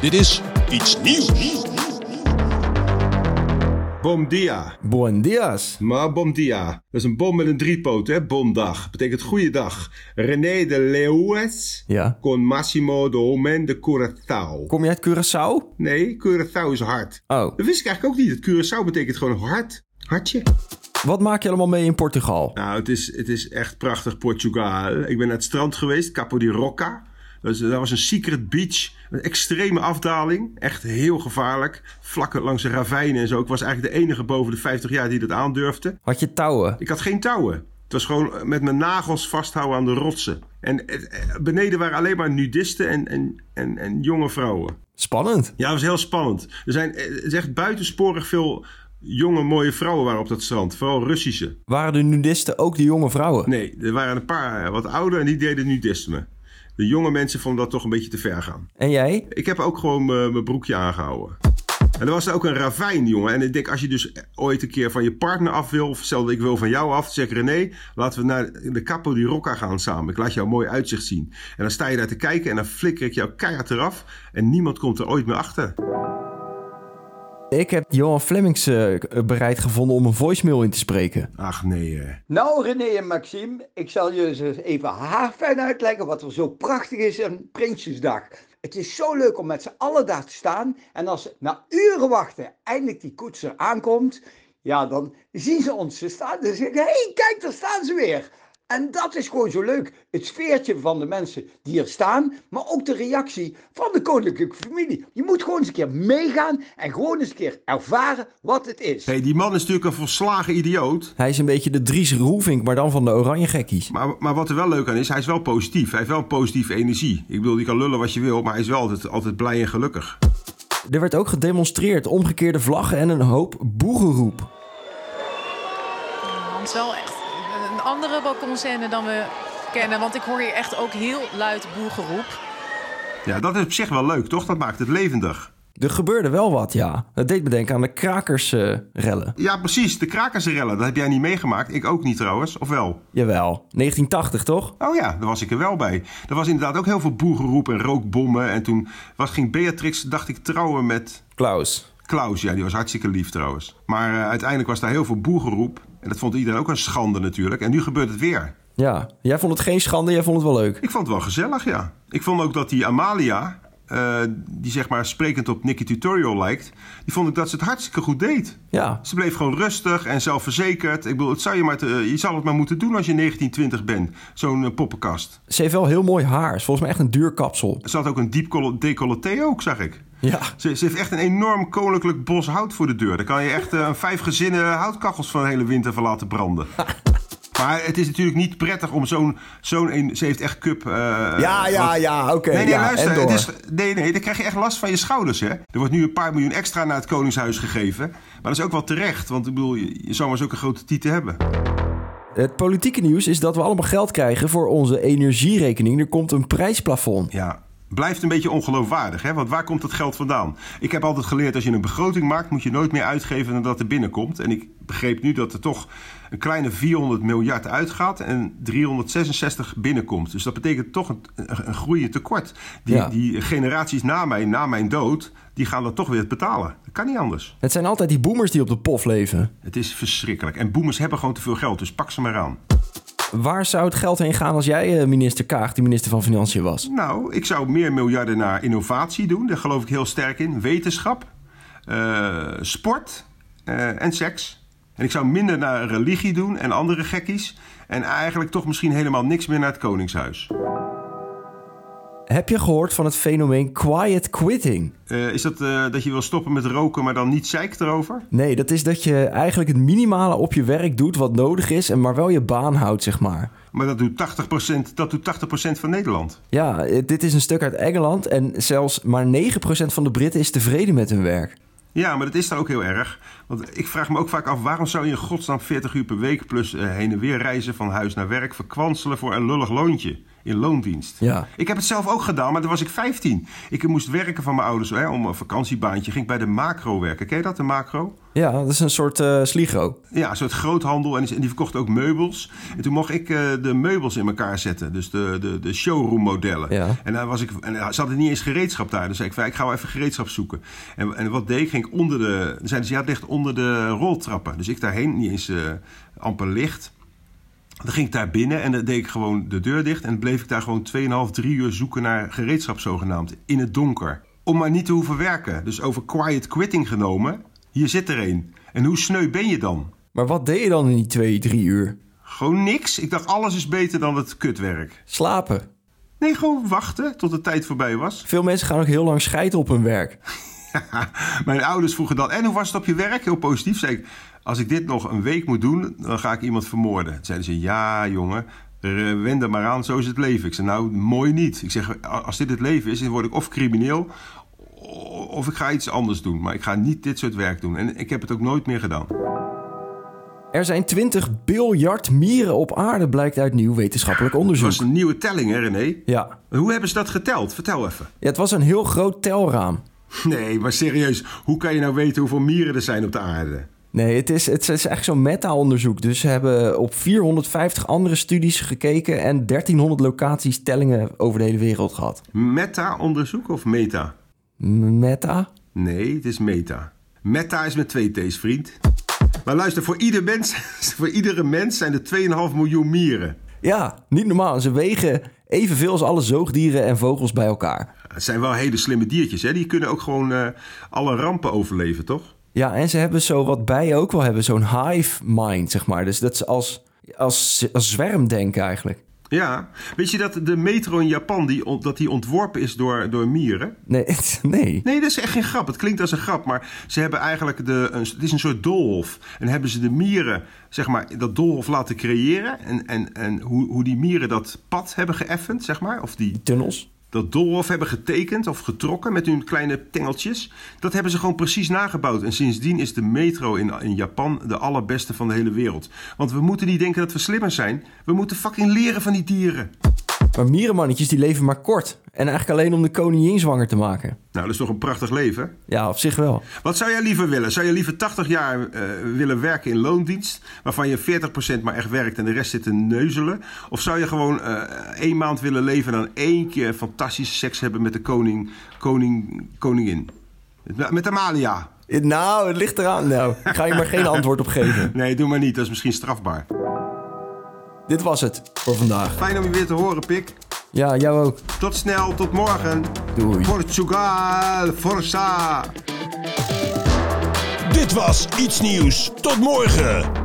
Dit is iets nieuws. Bom dia. Buen dias. Maar bom dia. Dat is een bom met een driepoot, hè? Bomdag. Betekent goeiedag. René de Leeuwes. Ja. Con Massimo de Homen de Curaçao. Kom je uit Curaçao? Nee, Curaçao is hard. Oh. Dat wist ik eigenlijk ook niet. Het Curaçao betekent gewoon hard. Hartje. Wat maak je allemaal mee in Portugal? Nou, het is, het is echt prachtig Portugal. Ik ben naar het strand geweest, Capo di Roca. Dat, is- dat was een secret beach. Een extreme afdaling. Echt heel gevaarlijk. Vlakken langs de ravijnen en zo. Ik was eigenlijk de enige boven de 50 jaar die dat aandurfde. Had je touwen? Ik had geen touwen. Het was gewoon eh, met mijn nagels vasthouden aan de rotsen. En het- eh, beneden waren alleen maar nudisten en, en, en, en jonge vrouwen. Spannend. Ja, dat was heel spannend. Er zijn eh, het is echt buitensporig veel jonge, mooie vrouwen waren op dat strand. Vooral Russische. Waren de nudisten ook de jonge vrouwen? Nee, er waren een paar eh, wat ouder en die deden nudisme. De jonge mensen vonden dat toch een beetje te ver gaan. En jij? Ik heb ook gewoon eh, mijn broekje aangehouden. En er was ook een ravijn, jongen. En ik denk, als je dus ooit een keer van je partner af wil... of stel dat ik wil van jou af, zeg ik, René... laten we naar de Capo di Rocca gaan samen. Ik laat jou een mooi uitzicht zien. En dan sta je daar te kijken en dan flikker ik jou keihard eraf... en niemand komt er ooit meer achter. Ik heb Johan Flemings eh, bereid gevonden om een voicemail in te spreken. Ach, nee, eh. Nou, René en Maxime, ik zal jullie eens even haarfijn uitleggen wat er zo prachtig is aan Prinsjesdag. Het is zo leuk om met z'n allen daar te staan. En als ze na uren wachten eindelijk die koets er aankomt, ja, dan zien ze ons. Ze staan en zeggen, hé, hey, kijk, daar staan ze weer. En dat is gewoon zo leuk. Het sfeertje van de mensen die er staan, maar ook de reactie van de koninklijke familie. Je moet gewoon eens een keer meegaan en gewoon eens een keer ervaren wat het is. Hey, die man is natuurlijk een volslagen idioot... Hij is een beetje de Dries Roelvink, maar dan van de Oranje Gekkies. Maar, maar wat er wel leuk aan is, hij is wel positief. Hij heeft wel een positieve energie. Ik bedoel, die kan lullen wat je wil, maar hij is wel altijd, altijd blij en gelukkig. Er werd ook gedemonstreerd, omgekeerde vlaggen en een hoop boegeroep. Want Het is wel echt een andere balkonscène dan we kennen. Want ik hoor hier echt ook heel luid boelgeroep. Ja, dat is op zich wel leuk, toch? Dat maakt het levendig. Er gebeurde wel wat, ja. Het deed me denken aan de krakersrellen. Ja, precies. De krakersrellen, dat heb jij niet meegemaakt. Ik ook niet trouwens, of wel? Jawel, 1980 toch? Oh ja, daar was ik er wel bij. Er was inderdaad ook heel veel boegeroep en rookbommen. En toen was, ging Beatrix, dacht ik, trouwen met Klaus. Klaus. Ja, die was hartstikke lief trouwens. Maar eh, uiteindelijk was daar heel veel boegeroep. En dat vond iedereen ook een schande natuurlijk. En nu gebeurt het weer. Ja, jij vond het geen schande, jij vond het wel leuk. Ik vond het wel gezellig, ja. Ik vond ook dat die Amalia, eh, die zeg maar sprekend op Nicky Tutorial lijkt, die vond ik dat ze het hartstikke goed deed. Ja, Ze bleef gewoon rustig en zelfverzekerd. Ik bedoel, het zou je, maar te- eh, je zou het maar moeten doen als je 1920 bent. Zo'n eh, poppenkast. ze heeft wel heel mooi haar. Is volgens mij echt een duur kapsel. Ze had ook een diep col- decolleté ook, zag ik. Ja. Ze, ze heeft echt een enorm koninklijk bos hout voor de deur. Daar kan je echt eh, een vijf gezinnen houtkachels van de hele winter van laten branden. Maar het is natuurlijk niet prettig om zo'n... zo'n een- ze heeft echt cup... eh, Ja, ja, ja, oké. Nee, nee, ja, en luister. door. Het is, nee, nee, dan krijg je echt last van je schouders, hè. Er wordt nu een paar miljoen extra naar het Koningshuis gegeven. Maar dat is ook wel terecht, want ik bedoel, je, je zou maar zulke grote tieten hebben. Het politieke nieuws is dat we allemaal geld krijgen voor onze energierekening. Er komt een prijsplafond. Ja, blijft een beetje ongeloofwaardig, hè. Want waar komt dat geld vandaan? Ik heb altijd geleerd, als je een begroting maakt, moet je nooit meer uitgeven dan dat er binnenkomt. En ik begreep nu dat er toch een kleine 400 miljard uitgaat en 366 binnenkomt. Dus dat betekent toch een, een een groeiend tekort. Die, Ja. die generaties na mij, na mijn dood, die gaan dat toch weer betalen. Dat kan niet anders. Het zijn altijd die boomers die op de pof leven. Het is verschrikkelijk. En boemers hebben gewoon te veel geld, dus pak ze maar aan. Waar zou het geld heen gaan als jij eh, minister Kaag, die minister van Financiën was? Nou, ik zou meer miljarden naar innovatie doen. Daar geloof ik heel sterk in. Wetenschap, eh, sport eh, en seks. En ik zou minder naar religie doen en andere gekkies. En eigenlijk toch misschien helemaal niks meer naar het Koningshuis. Heb je gehoord van het fenomeen quiet quitting? Eh, is dat eh, dat je wil stoppen met roken, maar dan niet zeik erover? Nee, dat is dat je eigenlijk het minimale op je werk doet wat nodig is, en maar wel je baan houdt, zeg maar. Maar dat doet 80%, dat doet 80 van Nederland. Ja, eh, dit is een stuk uit Engeland en zelfs maar 9% van de Britten is tevreden met hun werk. Ja, maar dat is daar ook heel erg. Want ik vraag me ook vaak af, waarom zou je in godsnaam 40 uur per week... plus eh, heen en weer reizen van huis naar werk... verkwanselen voor een lullig loontje in loondienst? Ja. Ik heb het zelf ook gedaan, maar toen was ik 15. Ik moest werken van mijn ouders hè, om een vakantiebaantje. Ging ik bij de macro werken. Ken je dat, de macro? Ja, dat is een soort eh sligo. Ja, een soort groothandel. En die- en die verkocht ook meubels. En toen mocht ik eh, de meubels in elkaar zetten. Dus de, de, de showroom modellen. Ja. En, daar was ik, en eh, ze hadden niet eens gereedschap daar. Dus zei ik, van, ik ga wel even gereedschap zoeken. En, en wat deed ik? Ging ik onder de... Dan zeiden ze, ja, het ligt onder de roltrappen. Dus ik daarheen, niet eens eh, amper licht. Dan ging ik daar binnen en dan deed ik gewoon de deur dicht. En dan bleef ik daar gewoon 2,5, 3 uur zoeken naar gereedschap zogenaamd. In het donker. Om maar niet te hoeven werken. Dus over quiet quitting genomen. Hier zit er een. En hoe sneu ben je dan? Maar wat deed je dan in die twee, drie uur? Gewoon niks. Ik dacht, alles is beter dan het kutwerk. Slapen. Nee, gewoon wachten tot de tijd voorbij was. Veel mensen gaan ook heel lang scheiden op hun werk. Mijn ouders vroegen dan, en hoe was het op je werk? Heel positief, zei ik. Als ik dit nog een week moet doen, dan ga ik iemand vermoorden. Toen zeiden ze, ja jongen, r- wen er maar aan, zo is het leven. Ik zei, nou, mooi niet. Ik zeg, a- als dit het leven is, dan word ik of crimineel... o- of ik ga iets anders doen. Maar ik ga niet dit soort werk doen. En ik heb het ook nooit meer gedaan. Er zijn 20 biljard mieren op aarde, blijkt uit nieuw wetenschappelijk Het onderzoek. was een nieuwe telling, hè René? Ja. Hoe hebben ze dat geteld? Vertel even. ja, het was een heel groot telraam. Nee, maar serieus, hoe kan je nou weten hoeveel mieren er zijn op de aarde? Nee, het is, het is echt zo'n meta-onderzoek. Dus ze hebben op 450 andere studies gekeken en 1300 locaties tellingen over de hele wereld gehad. Meta-onderzoek of meta? Meta? Nee, het is meta. Meta is met twee T's, vriend. Maar luister, voor, ieder mens, voor iedere mens zijn er 2,5 miljoen mieren. Ja, niet normaal. Ze wegen evenveel als alle zoogdieren en vogels bij elkaar. Het zijn wel hele slimme diertjes, hè? Die kunnen ook gewoon eh, alle rampen overleven, toch? Ja, en ze hebben zo wat bijen ook wel hebben, zo'n hive mind, zeg maar. Dus dat is als, als, als zwermdenken eigenlijk. Ja. Weet je dat de metro in Japan die, ont- dat die ontworpen is door, door mieren? Nee, nee. Nee, dat is echt geen grap. Het klinkt als een grap, maar ze hebben eigenlijk de, een, het is een soort doolhof. En hebben ze de mieren, zeg maar, dat doolhof laten creëren. En, en, en hoe, hoe die mieren dat pad hebben geëffend, zeg maar. Of die, Tunnels? dat doolhof hebben getekend of getrokken met hun kleine tengeltjes. Dat hebben ze gewoon precies nagebouwd. En sindsdien is de metro in, in Japan de allerbeste van de hele wereld. Want we moeten niet denken dat we slimmer zijn. We moeten fucking leren van die dieren. Maar mierenmannetjes die leven maar kort. En eigenlijk alleen om de koningin zwanger te maken. Nou, dat is toch een prachtig leven, Ja, op zich wel. Wat zou jij liever willen? Zou je liever 80 jaar eh, willen werken in loondienst, waarvan je 40% maar echt werkt en de rest zit te neuzelen? Of zou je gewoon eh, één maand willen leven en dan één keer fantastische seks hebben met de koning, koning, koningin? Met- Met Amalia. Nou, het ligt eraan. Nou, ik ga je maar geen antwoord op geven. Nee, doe maar niet. Dat is misschien strafbaar. Dit was het voor vandaag. Fijn om je weer te horen, Pik. Ja, jou ook. Tot snel, tot morgen. Doei. Portugal, Forza. Dit was Iets Nieuws. Tot morgen.